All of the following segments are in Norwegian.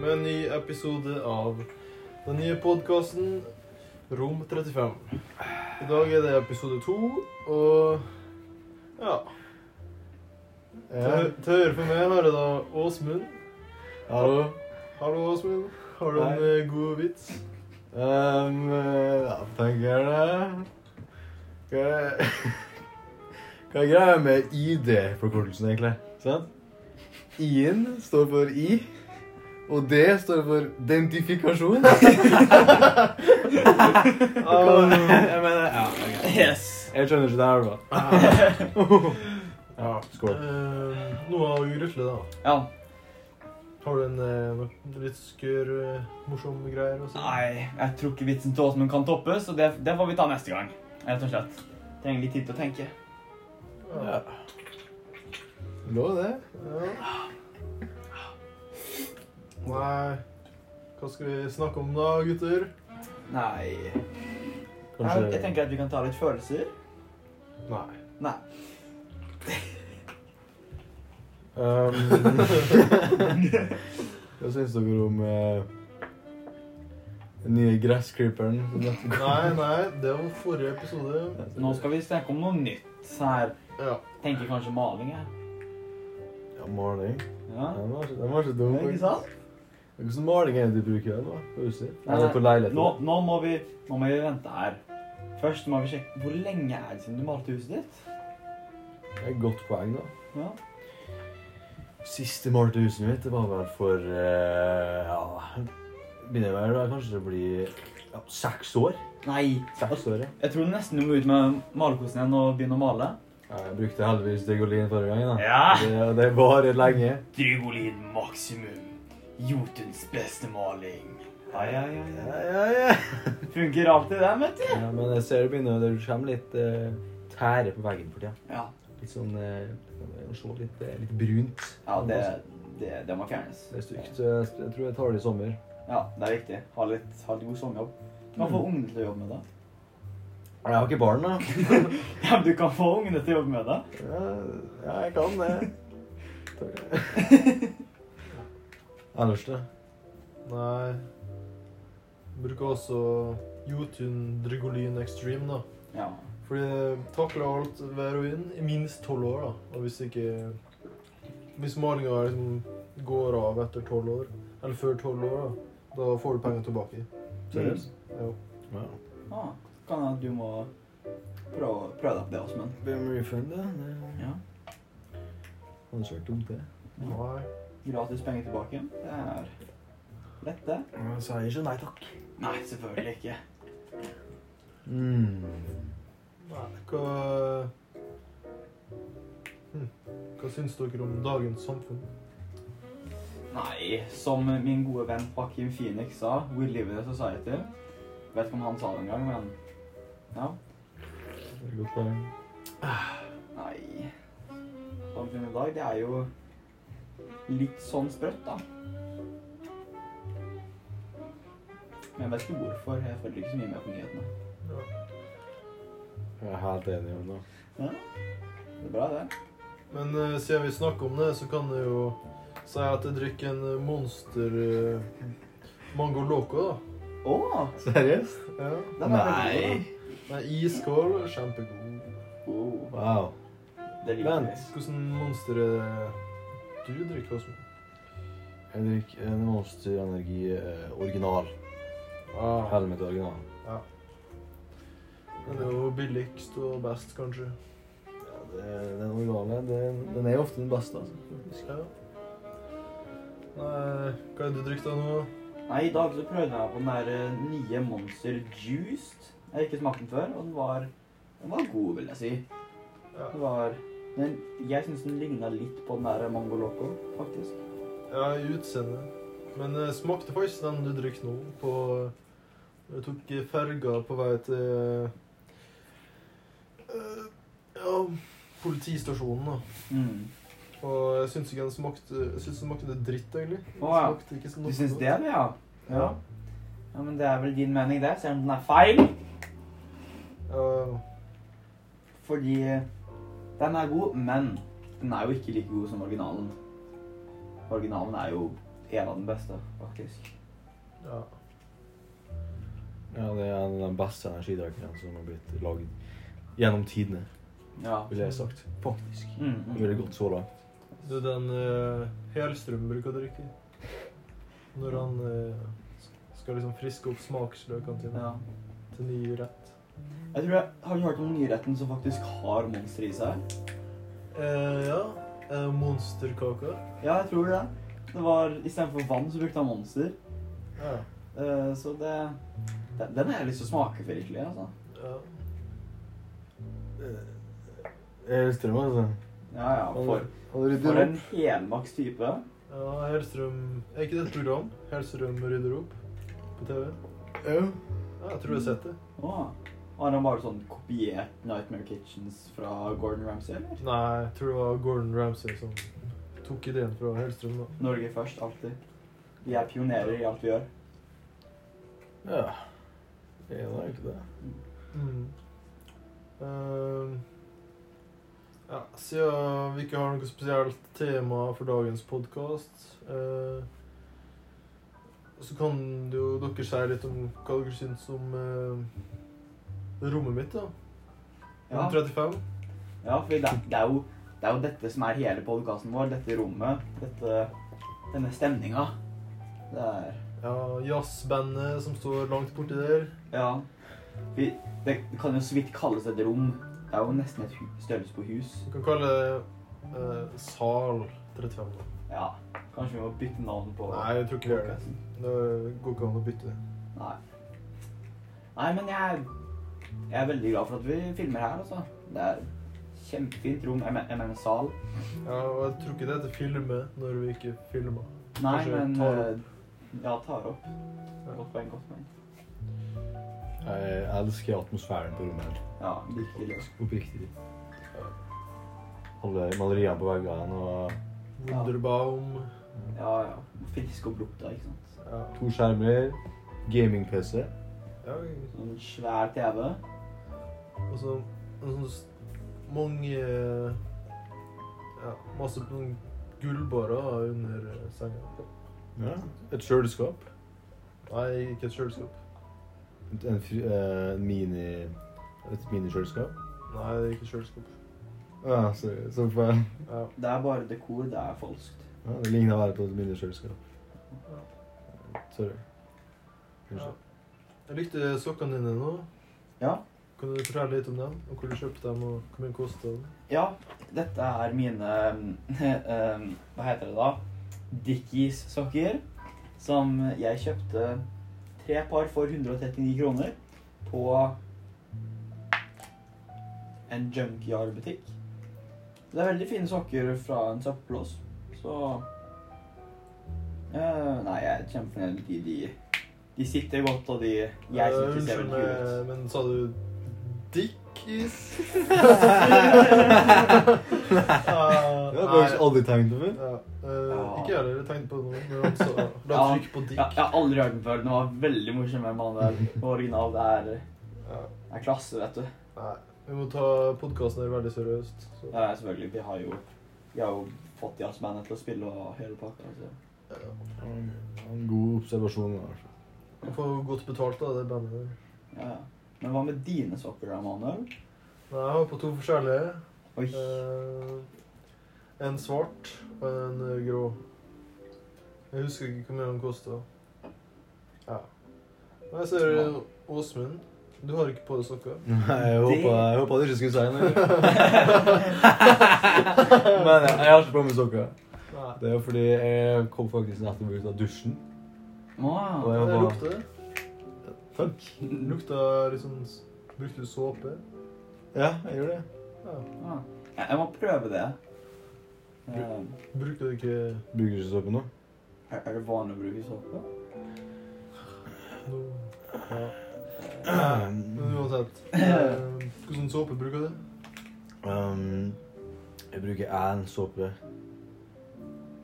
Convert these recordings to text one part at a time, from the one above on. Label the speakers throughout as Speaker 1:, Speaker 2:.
Speaker 1: med en ny episode av den nye podkasten Rom 35. I dag er det episode to, og ja. Til, til høyre for meg har jeg da Åsmund.
Speaker 2: Hallo.
Speaker 1: Hallo, Åsmund. Har du en
Speaker 2: Hei.
Speaker 1: eh, god vits?
Speaker 2: Um, ja, tenker det. Hva er, hva er greia med ID-forkortelsen, egentlig? Sant? I-en står for I, og D står for identifikasjon.
Speaker 1: Um,
Speaker 2: jeg mener, ja, ok.
Speaker 3: Yes.
Speaker 2: Jeg skjønner ikke det her, da.
Speaker 1: ja.
Speaker 2: Skål.
Speaker 1: Eh, noe av Grutle, da.
Speaker 3: Ja.
Speaker 1: Har du en eh, noe litt skør, eh, morsom greier å si?
Speaker 3: Nei, jeg tror ikke vitsen til Åsmund kan toppes, så det, det får vi ta neste gang. Rett og slett. Trenger litt tid til å tenke.
Speaker 1: Ja.
Speaker 2: Ja. Lå det?
Speaker 1: Ja. Nei Hva skal vi snakke om da, gutter?
Speaker 3: Nei Jeg, jeg
Speaker 2: Kanskje
Speaker 3: tenker at vi kan ta litt følelser.
Speaker 1: Nei.
Speaker 3: Nei.
Speaker 2: um, Hva syns dere om eh, den nye gressklipperen? som nettopp kom?
Speaker 1: Nei, nei, det var forrige episode.
Speaker 3: Nå skal vi snakke om noe nytt. Så her
Speaker 1: Ja.
Speaker 3: tenker jeg kanskje maling, jeg.
Speaker 2: Ja, maling.
Speaker 3: Ja.
Speaker 2: Den var ikke, den var ikke dum.
Speaker 3: Ikke sant?
Speaker 2: Hvilken maling er det du bruker den, da? På huset?
Speaker 3: Nei,
Speaker 2: Eller
Speaker 3: nei.
Speaker 2: på leiligheten?
Speaker 3: Nå, nå, må vi, nå må vi vente her. Først må vi sjekke hvor lenge er det siden du malte huset ditt.
Speaker 2: Det er et godt poeng, da.
Speaker 3: Ja.
Speaker 2: Siste malte huset mitt det var vel for eh, Ja, begynner vel da kanskje det blir ja, seks år.
Speaker 3: Nei.
Speaker 2: Seks år, ja.
Speaker 3: Jeg tror nesten du må ut med malekosen igjen og begynne å male.
Speaker 2: Jeg brukte heldigvis Degolin forrige gang. da.
Speaker 3: Ja.
Speaker 2: Det, det varer lenge.
Speaker 3: Drygolid maksimum. Jotuns beste maling. Ja, ja, ja, ja.
Speaker 2: Ja, ja, ja.
Speaker 3: Funker alltid det, vet du.
Speaker 2: ja men jeg ser det begynner det kommer litt eh, tære på veggen for tida.
Speaker 3: Ja,
Speaker 2: Litt sånn eh, det kan se litt, eh, litt brunt.
Speaker 3: ja det, det, det må fjernes.
Speaker 2: Det er stygt. så Jeg, jeg tror jeg tar det i sommer.
Speaker 3: Ja, det er viktig. Ha litt, ha litt god sommerjobb. Du kan få ungene til å jobbe med det.
Speaker 2: Jeg har ikke barn, da.
Speaker 3: Ja, men du kan få ungene til å jobbe med det.
Speaker 2: Ja, ja, jeg kan det. Ellers, da?
Speaker 1: Nei. Bruker også Jotun Drygolin Extreme, da.
Speaker 3: Ja.
Speaker 1: Fordi det takler alt hver og en i minst tolv år, da. Og hvis ikke Hvis malinga liksom går av etter tolv år, eller før tolv år, da, da får du pengene tilbake.
Speaker 2: Seriøst?
Speaker 1: Jo.
Speaker 2: Ja.
Speaker 3: Ah, kan hende at du må prøve, prøve deg på det, Åsmund.
Speaker 2: Blir det mye fun, da? Det
Speaker 3: Ja.
Speaker 2: hadde ikke vært dumt, det.
Speaker 1: Nei.
Speaker 3: Gratis penger tilbake. Det er lett, det.
Speaker 2: Jeg sa ikke nei takk.
Speaker 3: Nei, selvfølgelig ikke.
Speaker 2: Mm.
Speaker 1: Nei, hva hm. Hva syns dere om dagens samfunn?
Speaker 3: Nei, som min gode venn Joaquin Phoenix sa, we live in a society. Vet ikke om han sa det engang, men ja.
Speaker 2: Det er et godt poeng.
Speaker 3: Nei. Samfunnet i dag, det er jo litt sånn sprøtt, da. Men jeg vet ikke hvorfor. Jeg følger ikke så mye med på nyhetene.
Speaker 2: Jeg er helt enig med deg.
Speaker 3: Det er bra, det.
Speaker 1: Men eh, siden vi snakker om det, så kan jeg jo si at jeg drikker en eh, Monster eh, Mango Loco, da.
Speaker 3: Å!
Speaker 2: Seriøst?
Speaker 1: Ja.
Speaker 3: Den er veldig god.
Speaker 1: Nei, iskål. Kjempegod.
Speaker 3: Oh,
Speaker 2: Wow.
Speaker 3: det liker
Speaker 2: Vent.
Speaker 3: jeg.
Speaker 1: Hvordan monster er det du drikker, Åsmund?
Speaker 2: Jeg drikker en eh, Monster Energi eh, original.
Speaker 1: Ah,
Speaker 2: Helmet original.
Speaker 1: den er jo billigst og best, kanskje.
Speaker 2: Ja, det, den originale, den, den er jo ofte den beste, altså.
Speaker 1: Ja. Nei, hva er det du drikker da nå?
Speaker 3: Nei, i dag så prøvde jeg på den der eh, nye Monster Juiced. Jeg har ikke smakt den før, og den var, den var god, vil jeg si.
Speaker 1: Ja.
Speaker 3: Den var, den, jeg syns den ligna litt på den der Mango Loco, faktisk.
Speaker 1: Ja, i utseende. Men jeg smakte faktisk den du drikker nå. På Jeg tok ferga på vei til eh, Ja, politistasjonen, da.
Speaker 3: Mm.
Speaker 1: Og jeg syns ikke den smakte Jeg syns den smakte dritt, egentlig. Den
Speaker 3: Å, ja.
Speaker 1: smakte ikke så
Speaker 3: Du
Speaker 1: noe
Speaker 3: syns
Speaker 1: godt.
Speaker 3: det, ja?
Speaker 1: Ja.
Speaker 3: ja? Men det er vel din mening, det? Selv om den er feil.
Speaker 1: Ja,
Speaker 3: Fordi eh, den er god, men den er jo ikke like god som originalen. Originalen er jo en av den beste, faktisk.
Speaker 1: Ja.
Speaker 2: Ja, det er en av de beste energidrikkene som har blitt laget gjennom tidene,
Speaker 3: Ja.
Speaker 2: ville jeg sagt. Faktisk.
Speaker 3: Mm,
Speaker 2: Vi
Speaker 3: mm.
Speaker 2: ville gått så langt.
Speaker 1: Det er den eh, Helstrøm bruker å drikke. Når han eh, skal liksom friske opp smaksløkene sine
Speaker 3: ja.
Speaker 1: til ny rett.
Speaker 3: Jeg tror jeg har du hørt om nyretten som faktisk har monster i seg.
Speaker 1: Eh, ja. Eh, monsterkaker.
Speaker 3: Ja, jeg tror det. Det var Istedenfor vann så brukte han monster.
Speaker 1: Ja.
Speaker 3: Eh, så det den, den har jeg lyst til å smake, virkelig. altså.
Speaker 1: ja.
Speaker 2: Elstrøm, altså.
Speaker 3: Ja, ja. For,
Speaker 2: Han rydder
Speaker 3: for en
Speaker 2: opp.
Speaker 3: helmaks type.
Speaker 1: ja Helstrøm Er ikke det et program? Helstrøm rydder opp på TV?
Speaker 2: Ja.
Speaker 1: Ja, jeg tror jeg har sett det.
Speaker 3: Åh. Har han bare sånn kopiert Nightmare Kitchens fra Gordon Ramsay, eller?
Speaker 1: Nei, jeg tror det var Gordon Ramsay som tok ideen fra Helstrøm. da.
Speaker 3: Norge først, alltid. Vi er pionerer i alt vi gjør.
Speaker 2: ja. Det er da egentlig det.
Speaker 1: Mm. Eh, ja, siden vi ikke har noe spesielt tema for dagens podkast, så kan jo dere si litt om hva dere syns om eh, rommet mitt, da.
Speaker 3: Ja,
Speaker 1: Rom 35.
Speaker 3: ja for det, det, er jo, det er jo dette som er hele podkasten vår. Dette rommet. Dette, denne stemninga. Det er
Speaker 1: Ja, jazzbandet som står langt borti der.
Speaker 3: Ja. Vi, det kan jo så vidt kalles et rom. Det er jo nesten et hu- størrelse på hus.
Speaker 1: Vi kan kalle det eh, Sal 35. da.
Speaker 3: Ja. Kanskje vi må bytte navn på
Speaker 1: Nei, jeg tror ikke vi gjør det. Det går ikke an å bytte.
Speaker 3: Nei. Nei, men jeg, jeg er veldig glad for at vi filmer her, altså. Det er kjempefint rom. Jeg, men, jeg mener sal.
Speaker 1: Ja, og jeg tror ikke det heter filme når vi ikke filmer.
Speaker 3: Nei,
Speaker 1: Kanskje
Speaker 3: men
Speaker 1: tar
Speaker 3: eh, Ja, tar opp. Godt poeng, godt poeng.
Speaker 2: Jeg elsker atmosfæren på rommet her.
Speaker 3: Ja, virkelig.
Speaker 2: Oppriktig. Alle maleriene på veggene og
Speaker 1: Wunderbaum.
Speaker 3: Ja, ja. Frisk og blukta, ikke sant.
Speaker 1: Ja.
Speaker 2: to skjermer, gaming-PC.
Speaker 1: ja.
Speaker 3: Sånn svær TV.
Speaker 1: Og så en sånn s- mange Ja, masse sånn gullbarer da, under eh, senga.
Speaker 2: Ja. Et kjøleskap.
Speaker 1: Nei, ikke et kjøleskap.
Speaker 2: En fri, eh, mini... Et minikjøleskap.
Speaker 1: Nei, det er ikke et kjøleskap.
Speaker 2: Ja, sorry. Så feil.
Speaker 1: Ja.
Speaker 3: Det er bare dekor. Det er falskt.
Speaker 2: Ja, det ligner å være på et minikjøleskap. Sorry.
Speaker 1: Ja.
Speaker 2: Unnskyld.
Speaker 1: Jeg likte sokkene dine nå.
Speaker 3: Ja.
Speaker 1: Kan du fortelle litt om dem? Og hvor du kjøpte dem, og hvor mye kosta de?
Speaker 3: Ja, dette er mine eh, Hva heter det da? Dickies-sokker. Som jeg kjøpte tre par for 139 kroner på en junkyard-butikk. Det er veldig fine sokker fra en søppelplass, så eh, Nei, jeg er kjempefornøyd med de, de. De sitter godt, og de Jeg
Speaker 1: Eh,
Speaker 3: syns de ser
Speaker 1: unnskyld,
Speaker 3: veldig kule ut.
Speaker 1: eh, men sa du Dickies? Ah,
Speaker 2: Det har jeg faktisk
Speaker 1: Nei.
Speaker 2: aldri tenkt over.
Speaker 1: Ja, eh, ikke jeg heller. Jeg tenkte på det nå. Men altså, la
Speaker 3: Ja.
Speaker 1: trykk på
Speaker 3: Ja,
Speaker 1: dick.
Speaker 3: jeg har aldri hørt den før. Den var veldig morsom. med mannen der. Det var original. Det er,
Speaker 1: Ja.
Speaker 3: det er klasse, vet du.
Speaker 1: Nei. Vi må ta podkasten her veldig seriøst. Så.
Speaker 3: Ja, selvfølgelig. Vi har jo, vi har jo fått jazzbandet til å spille og hele pakka. Altså.
Speaker 2: En god observasjon. i hvert fall.
Speaker 1: Vi får godt betalt av det bandet der.
Speaker 3: Ja, ja. Men hva med dine sokker, da, Manuel?
Speaker 1: Nei, jeg har på to forskjellige.
Speaker 3: Oi.
Speaker 1: Eh, en svart og en eh, grå. Jeg husker ikke hvor mye den kosta. Ja. Nei, jeg ser eh, Åsmund. Du har ikke på deg sokker.
Speaker 2: Nei, jeg
Speaker 3: Det-
Speaker 2: håpa, jeg håpa du ikke skulle si noe. Men jeg, jeg har ikke på meg sokker.
Speaker 1: Nei.
Speaker 2: Det er jo fordi jeg kom faktisk nettopp ut av dusjen.
Speaker 3: Wow.
Speaker 2: jeg
Speaker 1: Det
Speaker 2: var-
Speaker 1: lukter det.
Speaker 2: Takk.
Speaker 1: Lukta liksom s- Brukte du såpe?
Speaker 2: Ja, jeg gjorde det.
Speaker 1: Ja.
Speaker 3: Ja. Jeg, jeg må prøve det. Eh,
Speaker 1: Brukte du ikke
Speaker 2: Bruker du ikke såpe nå?
Speaker 3: er er det vanlig å bruke såpe?
Speaker 1: noe ja. Men uansett. Eh, hvordan såpe bruker du?
Speaker 2: Um, jeg bruker en såpe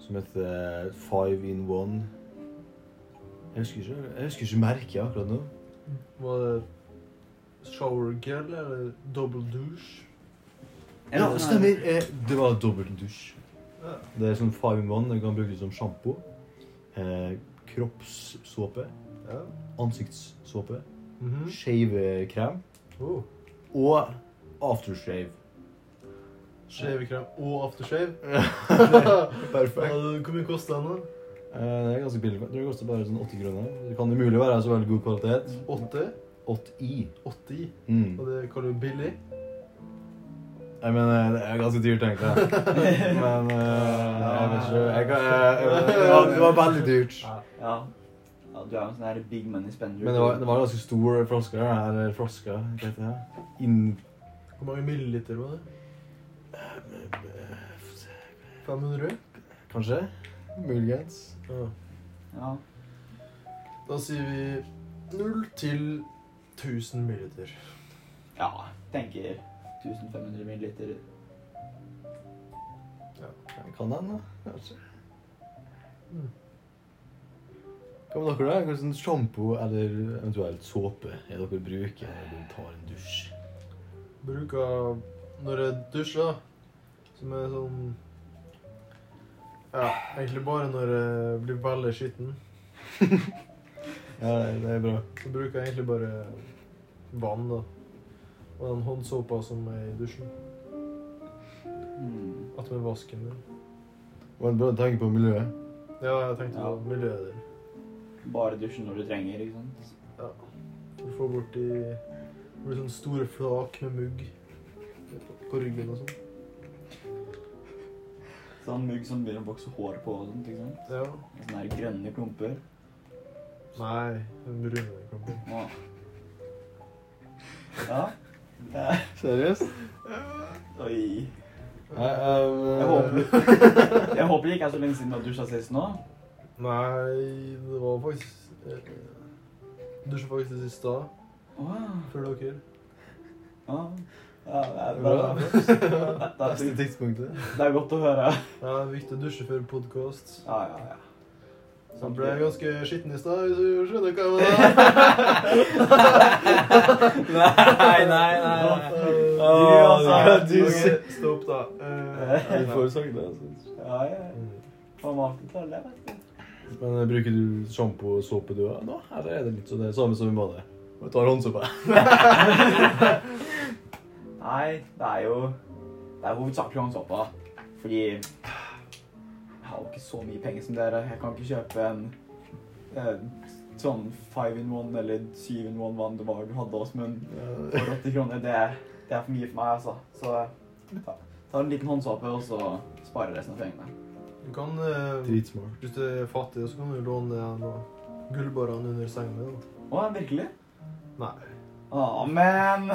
Speaker 2: som heter eh, Five in One. Jeg husker ikke, jeg husker ikke merket akkurat nå.
Speaker 1: Var det shower gel eller double douche?
Speaker 3: Er det sånn her-
Speaker 2: Eh, Det var dobbeltdusj.
Speaker 1: Ja.
Speaker 2: Det er sånn five in one. Du kan bruke det som sjampo. eh, kroppssåpe,
Speaker 1: Ja.
Speaker 2: ansiktssåpe,
Speaker 1: Mhm.
Speaker 2: shavekrem
Speaker 1: oh.
Speaker 2: og aftershave.
Speaker 1: Shavekrem og aftershave. Ja,
Speaker 2: Perfekt.
Speaker 1: Hvor mye koster den? da?
Speaker 2: Eh, det er ganske billig. Jeg tror det koster bare sånn 80 kroner. Det kan umulig være så veldig god kvalitet.
Speaker 1: 80?
Speaker 2: 80.
Speaker 1: 80?
Speaker 2: Mm.
Speaker 1: Og det kaller du billig?
Speaker 2: Jeg mener, eh, det er ganske dyrt, egentlig. Men eh, jeg vet ikke. Jeg kan, eh, jeg, jeg, det var- det var veldig dyrt.
Speaker 3: Ja. ja du er jo en sånn her big money spender.
Speaker 2: Men det var, det var en ganske stor flaske. Eller flaske, eh, hva heter det? Inn...
Speaker 1: Hvor mange milliliter var det? 500?
Speaker 2: Kanskje? Muligens.
Speaker 1: Ja.
Speaker 3: Ja.
Speaker 1: Da sier vi 0 til 1000 milliliter.
Speaker 3: ja. Tenker 1500 milliliter.
Speaker 2: Kan den, da? Kanskje. Hva med dere, da? Hvilken sjampo eller eventuelt såpe er dere bruker når dere tar en dusj?
Speaker 1: Bruker når jeg dusjer, da. Som er sånn Ja, egentlig bare når jeg blir veldig skitten.
Speaker 2: Ja, det er bra.
Speaker 1: Så bruker jeg egentlig bare vann, da. Og den håndsåpa som er i dusjen.
Speaker 3: Mm.
Speaker 1: Attmed vasken. din.
Speaker 2: Var det bra å tenke på miljøet?
Speaker 1: Ja, jeg tenkte
Speaker 3: Ja.
Speaker 1: på miljøet der.
Speaker 3: Bare dusje når du trenger, ikke sant?
Speaker 1: Du får borti Det blir sånne store flak med mugg på ryggen og sånn.
Speaker 3: Sånn mugg som begynner å vokse hår på og sånt, ikke sant?
Speaker 1: Ja.
Speaker 3: Sånne her grønne klumper.
Speaker 1: Nei, en brune klumper.
Speaker 3: Nå. Ja. Eh,
Speaker 2: Seriøst?
Speaker 3: Oi.
Speaker 2: Jeg, eh,
Speaker 3: Jeg håper, jeg håper det ikke er så lenge siden du har dusja sist nå.
Speaker 1: Nei, det var faktisk eh, Dusja faktisk i stad,
Speaker 3: Åh,
Speaker 1: før dere.
Speaker 3: Ja, ja, det er
Speaker 2: Bra.
Speaker 3: bra. Det
Speaker 2: Beste
Speaker 3: er-
Speaker 2: tidspunktet.
Speaker 3: det er godt å høre.
Speaker 1: Ja, det er viktig å dusje før podkast.
Speaker 3: Ja, ja, ja.
Speaker 1: Så ble jeg ganske skitten i stad, hvis du skjønner hva jeg mener.
Speaker 2: Nei, nei,
Speaker 1: Eh,
Speaker 2: Åh,
Speaker 3: Ja,
Speaker 2: du
Speaker 1: ok,
Speaker 2: sier-
Speaker 1: Stopp, da. Eh, Mm.
Speaker 2: Jeg får sagt det, altså.
Speaker 3: Ja, ja. Man må alltid telle, vet du.
Speaker 2: Men eh, bruker du sjampo og såpe du har nå? Eller er det litt sånn det samme som i badet? Og tar håndsåpe?
Speaker 3: Nei, det er jo Det er hovedsakelig håndsåpa. Fordi jeg har jo ikke så mye penger som dere. Jeg kan ikke kjøpe en eh, sånn five in one eller syv in one vann det var du hadde hos men
Speaker 2: Ja.
Speaker 3: for 80 kroner, det, det er for mye for meg, altså. Så ta, ta en liten håndsåpe, og så spare resten av pengene.
Speaker 1: Du kan eh,
Speaker 2: Dritsmart.
Speaker 1: Hvis du er fattig, så kan du låne en av gullbarene under sengen din. da.
Speaker 3: Å, virkelig?
Speaker 1: Nei.
Speaker 3: Amen!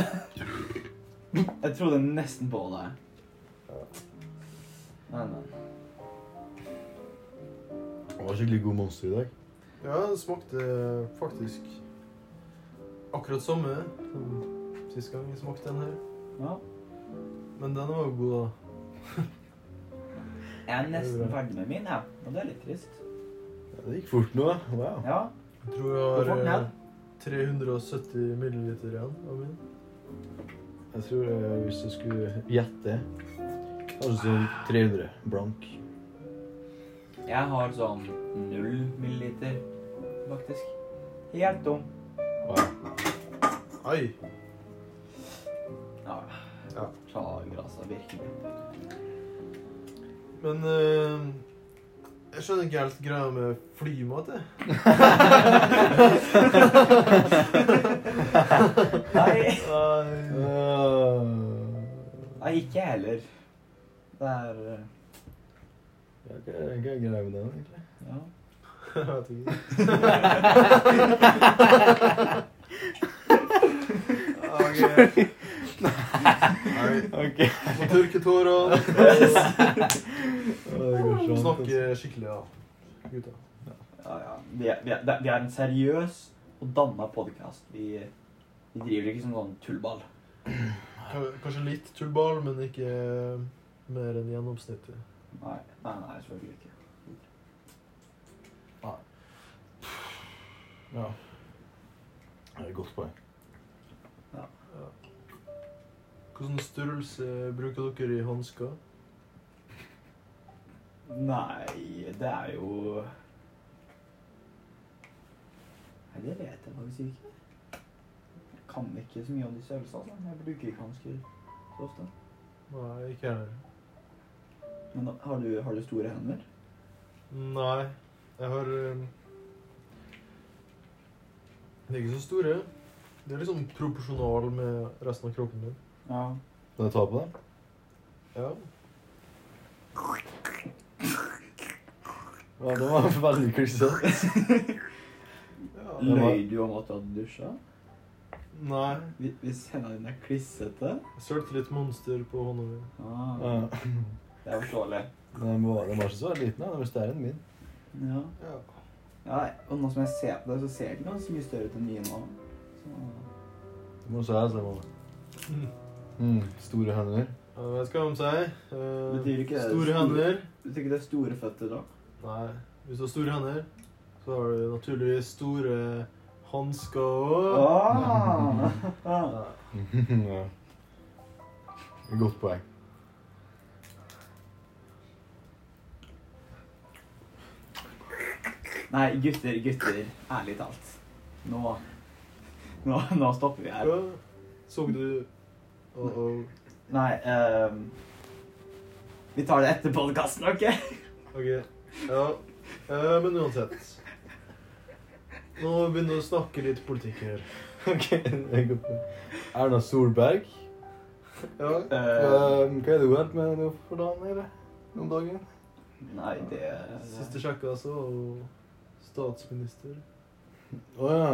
Speaker 3: Jeg trodde nesten på det. Men, men.
Speaker 2: Det var skikkelig god monster i dag.
Speaker 1: Ja, det smakte faktisk akkurat samme som sist gang jeg smakte den her.
Speaker 3: Ja.
Speaker 1: Men den var jo god, da.
Speaker 3: Jeg er nesten ferdig med min, jeg. Og det er litt trist.
Speaker 2: Ja, det gikk fort nå. da. Wow.
Speaker 3: Ja.
Speaker 1: Jeg tror
Speaker 3: Hvor
Speaker 1: jeg
Speaker 3: fort
Speaker 1: har
Speaker 3: ned?
Speaker 1: eh, 370 milliliter igjen av min.
Speaker 2: Jeg tror eh, hvis jeg skulle gjette Kanskje sånn 300 blank.
Speaker 3: Jeg har sånn null milliliter, faktisk. Helt tom.
Speaker 2: Wow.
Speaker 1: Ai!
Speaker 3: Ja.
Speaker 1: Ja.
Speaker 3: Klager, altså. Virkelig.
Speaker 1: Men eh, jeg skjønner ikke helt greia med flymat, jeg.
Speaker 3: Nei.
Speaker 2: Eh,
Speaker 1: Nei.
Speaker 2: Uh,
Speaker 3: Nei, ikke jeg heller. Det er eh,
Speaker 2: ja, hva er hva er greia med den, egentlig?
Speaker 3: Ja.
Speaker 1: Jeg vet ikke. Ok. Nei.
Speaker 2: Ok.
Speaker 1: Må tørke tårene.
Speaker 2: Ja, det går sånn.
Speaker 1: Snakke skikkelig, da. Gutta.
Speaker 3: Ja, ja. Vi er, vi er, det- vi er en seriøs og danna podkast. Vi, vi driver ikke som sånn tullball.
Speaker 1: Ka- Kanskje litt tullball, men ikke eh, mer enn gjennomsnittet.
Speaker 3: Nei, nei, nei selvfølgelig ikke.
Speaker 2: Ja. Det er et godt poeng.
Speaker 1: Hvilken størrelse bruker dere i hansker?
Speaker 3: Nei, det er jo Nei, det vet jeg faktisk ikke. Jeg kan ikke så mye om disse øvelsene. Altså. Jeg bruker ikke hansker så ofte.
Speaker 1: Nei, ikke heller.
Speaker 3: Men da, har, du, har du store hender?
Speaker 1: Nei, jeg har eh, De er ikke så store. De er liksom proporsjonale med resten av kroppen min.
Speaker 3: Ja.
Speaker 2: Kan jeg ta på den?
Speaker 1: Ja.
Speaker 2: Ja, det var veldig klissete.
Speaker 3: Løy du om at du hadde dusja?
Speaker 1: Nei.
Speaker 3: Hvis- Hvis hendene dine er klissete?
Speaker 1: Jeg sølte litt monster på hånda mi.
Speaker 3: Ah,
Speaker 2: Ja.
Speaker 3: det er forståelig.
Speaker 2: Den var, den var ikke så liten, den var større enn min.
Speaker 3: Ja.
Speaker 1: Ja.
Speaker 3: ja. Og nå som jeg ser på deg, så ser den ganske mye større ut enn mine òg. Så
Speaker 2: Du må se her, se mamma. Mm, store hender.
Speaker 1: Jeg vet ikke hva de sier. Eh,
Speaker 3: Betyr ikke det
Speaker 1: store
Speaker 3: store-
Speaker 1: hender.
Speaker 3: Du tror ikke det er store føtter da?
Speaker 1: Nei. Hvis du har store hender, så har du naturligvis store hansker òg.
Speaker 3: Ah.
Speaker 2: ja. Godt poeng.
Speaker 3: Nei, gutter, gutter. Ærlig talt. Nå Nå, nå stopper vi her.
Speaker 1: Ja. Så du oh, oh.
Speaker 3: Nei ehm, Vi tar det etter podkasten, OK?
Speaker 1: Ok. Ja. Eh, men uansett. Nå begynner vi å snakke litt politikk her.
Speaker 2: Ok, det er godt poeng. Erna Solberg.
Speaker 1: Ja.
Speaker 3: Eh,
Speaker 2: Eh, hva er det hun helt med nå for dagen, eller? Om dagen?
Speaker 3: nei, det
Speaker 1: Siste sjekka så var hun statsminister.
Speaker 2: Å ja.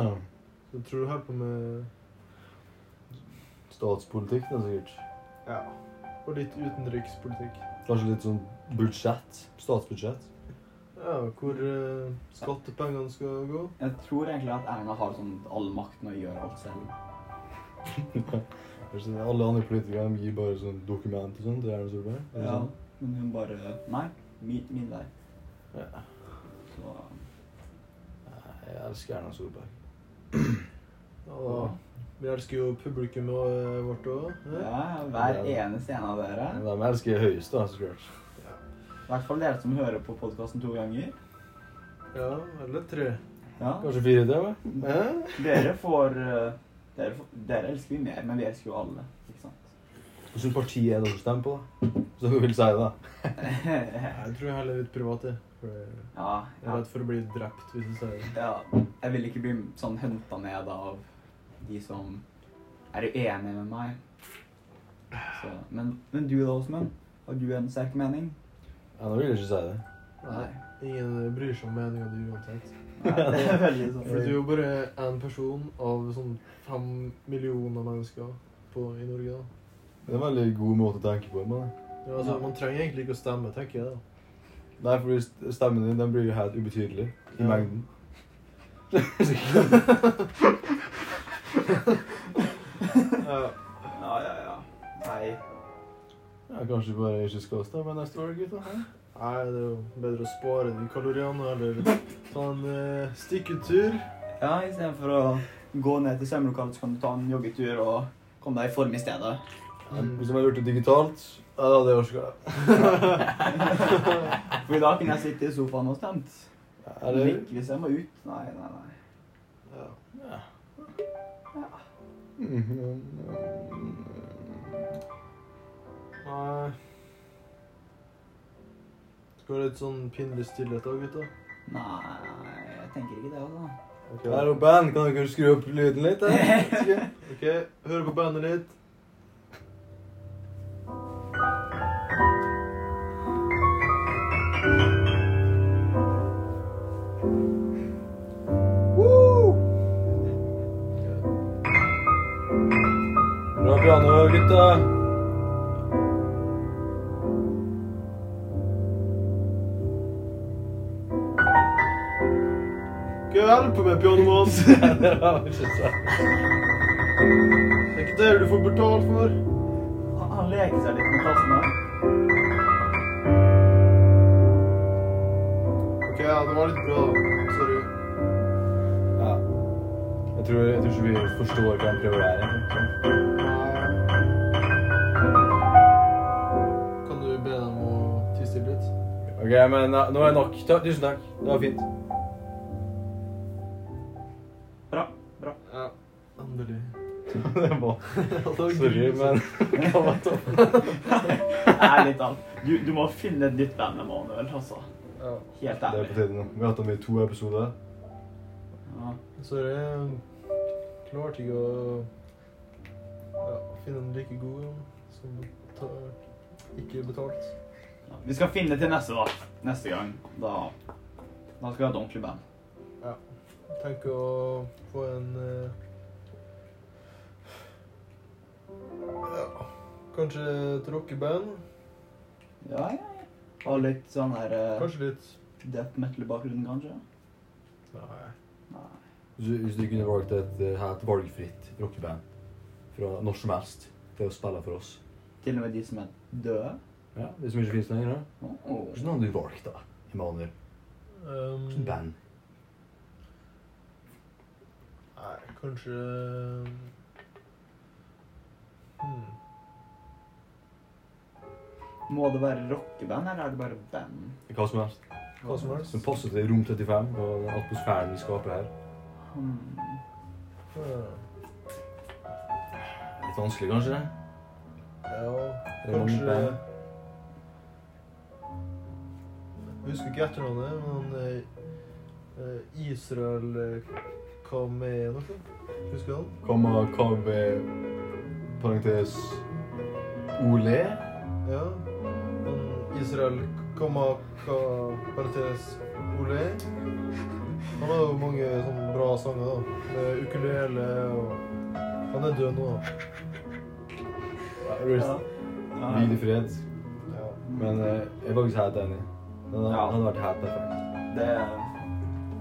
Speaker 1: Så jeg tror hun holder på med
Speaker 2: Statspolitikk, det er sikkert.
Speaker 1: Ja. Og litt utenrikspolitikk.
Speaker 2: Kanskje litt sånn budsjett. Statsbudsjett.
Speaker 1: Ja, hvor eh, skattepengene skal gå.
Speaker 3: Jeg tror egentlig at Erna har sånn all makten og gjør alt selv.
Speaker 2: Kanskje Alle andre politikere de gir bare sånn dokument og sånn til Erna Solberg. er det
Speaker 3: Ja,
Speaker 2: sånn?
Speaker 3: men hun bare Nei, min, min vei.
Speaker 2: Ja.
Speaker 3: Så
Speaker 2: Nei, Jeg elsker Erna Solberg.
Speaker 1: Ja, da. Vi elsker jo publikummet eh, vårt òg.
Speaker 3: ja, hver eneste en av dere,
Speaker 2: Men De elsker jeg høyest, da, så klart.
Speaker 3: i hvert fall dere som hører på podkasten to ganger
Speaker 1: Ja, eller tre.
Speaker 3: ja,
Speaker 2: Kanskje fire til, hva?
Speaker 3: Dere får eh, dere, får- dere elsker vi mer, men vi elsker jo alle. Ikke sant?
Speaker 2: Hvilket parti er det dere stemmer på, da? Så du vil si det, da?
Speaker 1: Jeg tror jeg heller litt privat, jeg. For jeg
Speaker 3: ja,
Speaker 1: er
Speaker 3: ja,
Speaker 1: redd for å bli drept hvis jeg sier det.
Speaker 3: ja. Jeg vil ikke bli sånn hunta ned av de som er uenige med meg. Så, men, men du da, Åsmund? Har du en sterk mening?
Speaker 2: Ja, nå vil jeg ikke si det.
Speaker 1: Nei. Ingen bryr seg om meninga di uansett.
Speaker 3: Nei, det er veldig sånn.
Speaker 1: For du er jo bare én person av sånn fem millioner mennesker på, i Norge. da.
Speaker 2: Det er en veldig god måte å tenke på. Men.
Speaker 1: Ja, altså,
Speaker 3: Ja.
Speaker 1: Man trenger egentlig ikke å stemme, tenker jeg. da.
Speaker 2: Nei, for st- stemmen din den blir jo helt ubetydelig i
Speaker 1: Ja.
Speaker 2: mengden.
Speaker 3: Ja, ja, ja. Nei.
Speaker 2: Ja, kanskje vi bare ikke skal stemme neste år, gutta.
Speaker 1: Nei, det er jo bedre å spare de kaloriene eller ta en eh, stikketur.
Speaker 3: Ja, istedenfor å gå ned til svømmelokalet, så kan du ta en joggetur og komme deg i form i stedet.
Speaker 1: Mm.
Speaker 2: Hvis de hadde gjort det digitalt, ja, det orker jeg.
Speaker 3: For i dag kunne jeg sitte i sofaen og stemt.
Speaker 2: Eller?
Speaker 3: Ikke hvis jeg må ut. Nei, nei, nei.
Speaker 1: Ja. Nei Skal vi ha litt sånn pinlig stillhet da, gutta?
Speaker 3: Nei, jeg tenker ikke det, altså.
Speaker 1: Ok,
Speaker 2: Hallo, band, kan dere skru opp lyden litt? eller?
Speaker 1: Ok, hør på bandet litt.
Speaker 2: Bra piano, gutta.
Speaker 1: Hva hjelper med pianomann?
Speaker 2: Det var ikke sant.
Speaker 1: Det er ikke det du får betalt for.
Speaker 3: Han, han leker seg litt med plassen her.
Speaker 1: Ok, ja, det var litt bra. da. Sorry.
Speaker 2: Ja. Jeg tror, jeg tror ikke vi forstår hva han prøver å være. egentlig.
Speaker 1: Nei. Kan du be dem å tie stille litt?
Speaker 2: Ok, men ja, nå er det nok. Ta, tusen takk. Det var fint. Det var Sorry,
Speaker 1: Sorry,
Speaker 2: men hva var toppen?
Speaker 3: Ærlig talt. Du, du må finne et nytt band med Manuel, altså.
Speaker 1: ja.
Speaker 3: Helt
Speaker 2: Det er
Speaker 3: ærlig.
Speaker 2: på tide nå. Vi har hatt dem i to episoder.
Speaker 3: Ja.
Speaker 1: Sorry. Jeg klarte ikke å ja, finne en like god en som tar ikke betalt.
Speaker 3: Ja. Vi skal finne til neste, da. Neste gang. Da, da skal vi ha et ordentlig band.
Speaker 1: Tenker å få en eh, Ja, kanskje et rockeband.
Speaker 3: Ja, ja, ja. Og litt sånn her eh,
Speaker 1: Kanskje litt
Speaker 3: death metal-bakgrunn, kanskje.
Speaker 1: Nei.
Speaker 3: Nei.
Speaker 2: Hvis du- Hvis du kunne valgt et, eh, her, et valgfritt rockeband fra når som helst til å spille for oss
Speaker 3: Til og med de som er døde.
Speaker 2: Ja, Det som ikke finnes lenger, da.
Speaker 3: Oh.
Speaker 2: Hvilket navn du valgt, da? Emanuel.
Speaker 1: Um,
Speaker 2: Hvilket band?
Speaker 1: Nei, kanskje hmm.
Speaker 3: Må det være rockeband, eller er det bare band?
Speaker 2: Hva som helst.
Speaker 1: Hva som helst.
Speaker 2: Som passer til Rom 35 og den atmosfæren vi skaper her.
Speaker 3: Hmm.
Speaker 1: Ja.
Speaker 2: Litt vanskelig, kanskje?
Speaker 1: Ja,
Speaker 2: Det er mange
Speaker 1: kanskje
Speaker 2: band.
Speaker 1: Jeg husker ikke etternavnet, men eh, eh, Israel eh, Kameh noe. Husker du han?
Speaker 2: Komma, kave, parentes, ole.
Speaker 1: Ja. Han Israel Kamaka Parentes Ole. Han har jo mange sånne bra sanger, da. Med ukulele og Han er død nå, da.
Speaker 2: Rest.
Speaker 3: Ja.
Speaker 2: Hvil i fred.
Speaker 1: Ja.
Speaker 2: Men eh, jeg er faktisk helt enig. Den hadde,
Speaker 3: Ja.
Speaker 2: hadde vært helt perfekt.
Speaker 3: Det er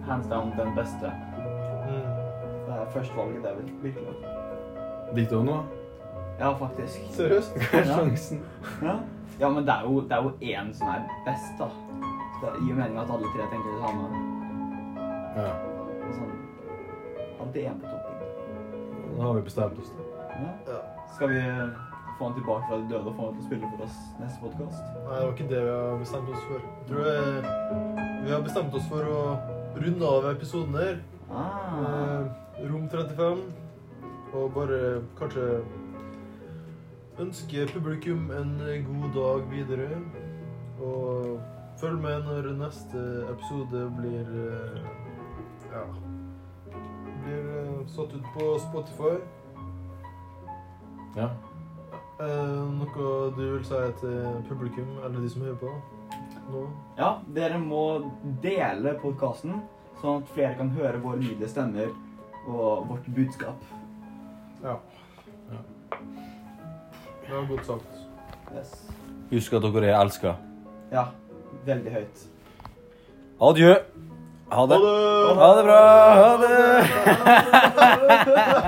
Speaker 3: hands down den beste.
Speaker 1: Mm.
Speaker 3: Det er førstevalget, det er vir- virkelig.
Speaker 2: Dikt òg nå?
Speaker 3: Ja, faktisk.
Speaker 1: Seriøst?
Speaker 2: Hva er
Speaker 3: Ja.
Speaker 2: sjansen?
Speaker 3: Ja, ja men det er jo- det er jo én som er best, da. Så det gir mening at alle tre tenker det samme.
Speaker 2: Ja.
Speaker 3: Og Sånn. Alltid én på toppen.
Speaker 2: Da har vi bestemt oss. da.
Speaker 1: Ja.
Speaker 3: Ja. Skal vi få han tilbake fra de døde og få han til å spille for oss neste podkast?
Speaker 1: Nei, det var ikke det vi har bestemt oss for. Tror jeg vi har bestemt oss for å runde av episoden her.
Speaker 3: Ah.
Speaker 1: Eh, rom 35. Og bare kanskje ønske publikum en god dag videre. Og følg med når neste episode blir eh, Ja. Blir eh, satt ut på Spotify.
Speaker 2: Ja.
Speaker 1: Eh, noe du vil si til publikum, eller de som hører på nå?
Speaker 3: Ja, dere må dele podkasten, sånn at flere kan høre våre nydelige stemmer og vårt budskap.
Speaker 1: Det var godt sagt.
Speaker 3: Yes.
Speaker 2: Husk at dere er elska.
Speaker 3: Ja. Veldig høyt.
Speaker 2: Adjø. Ha det.
Speaker 1: Ha det!
Speaker 2: Ha det bra. Ha det.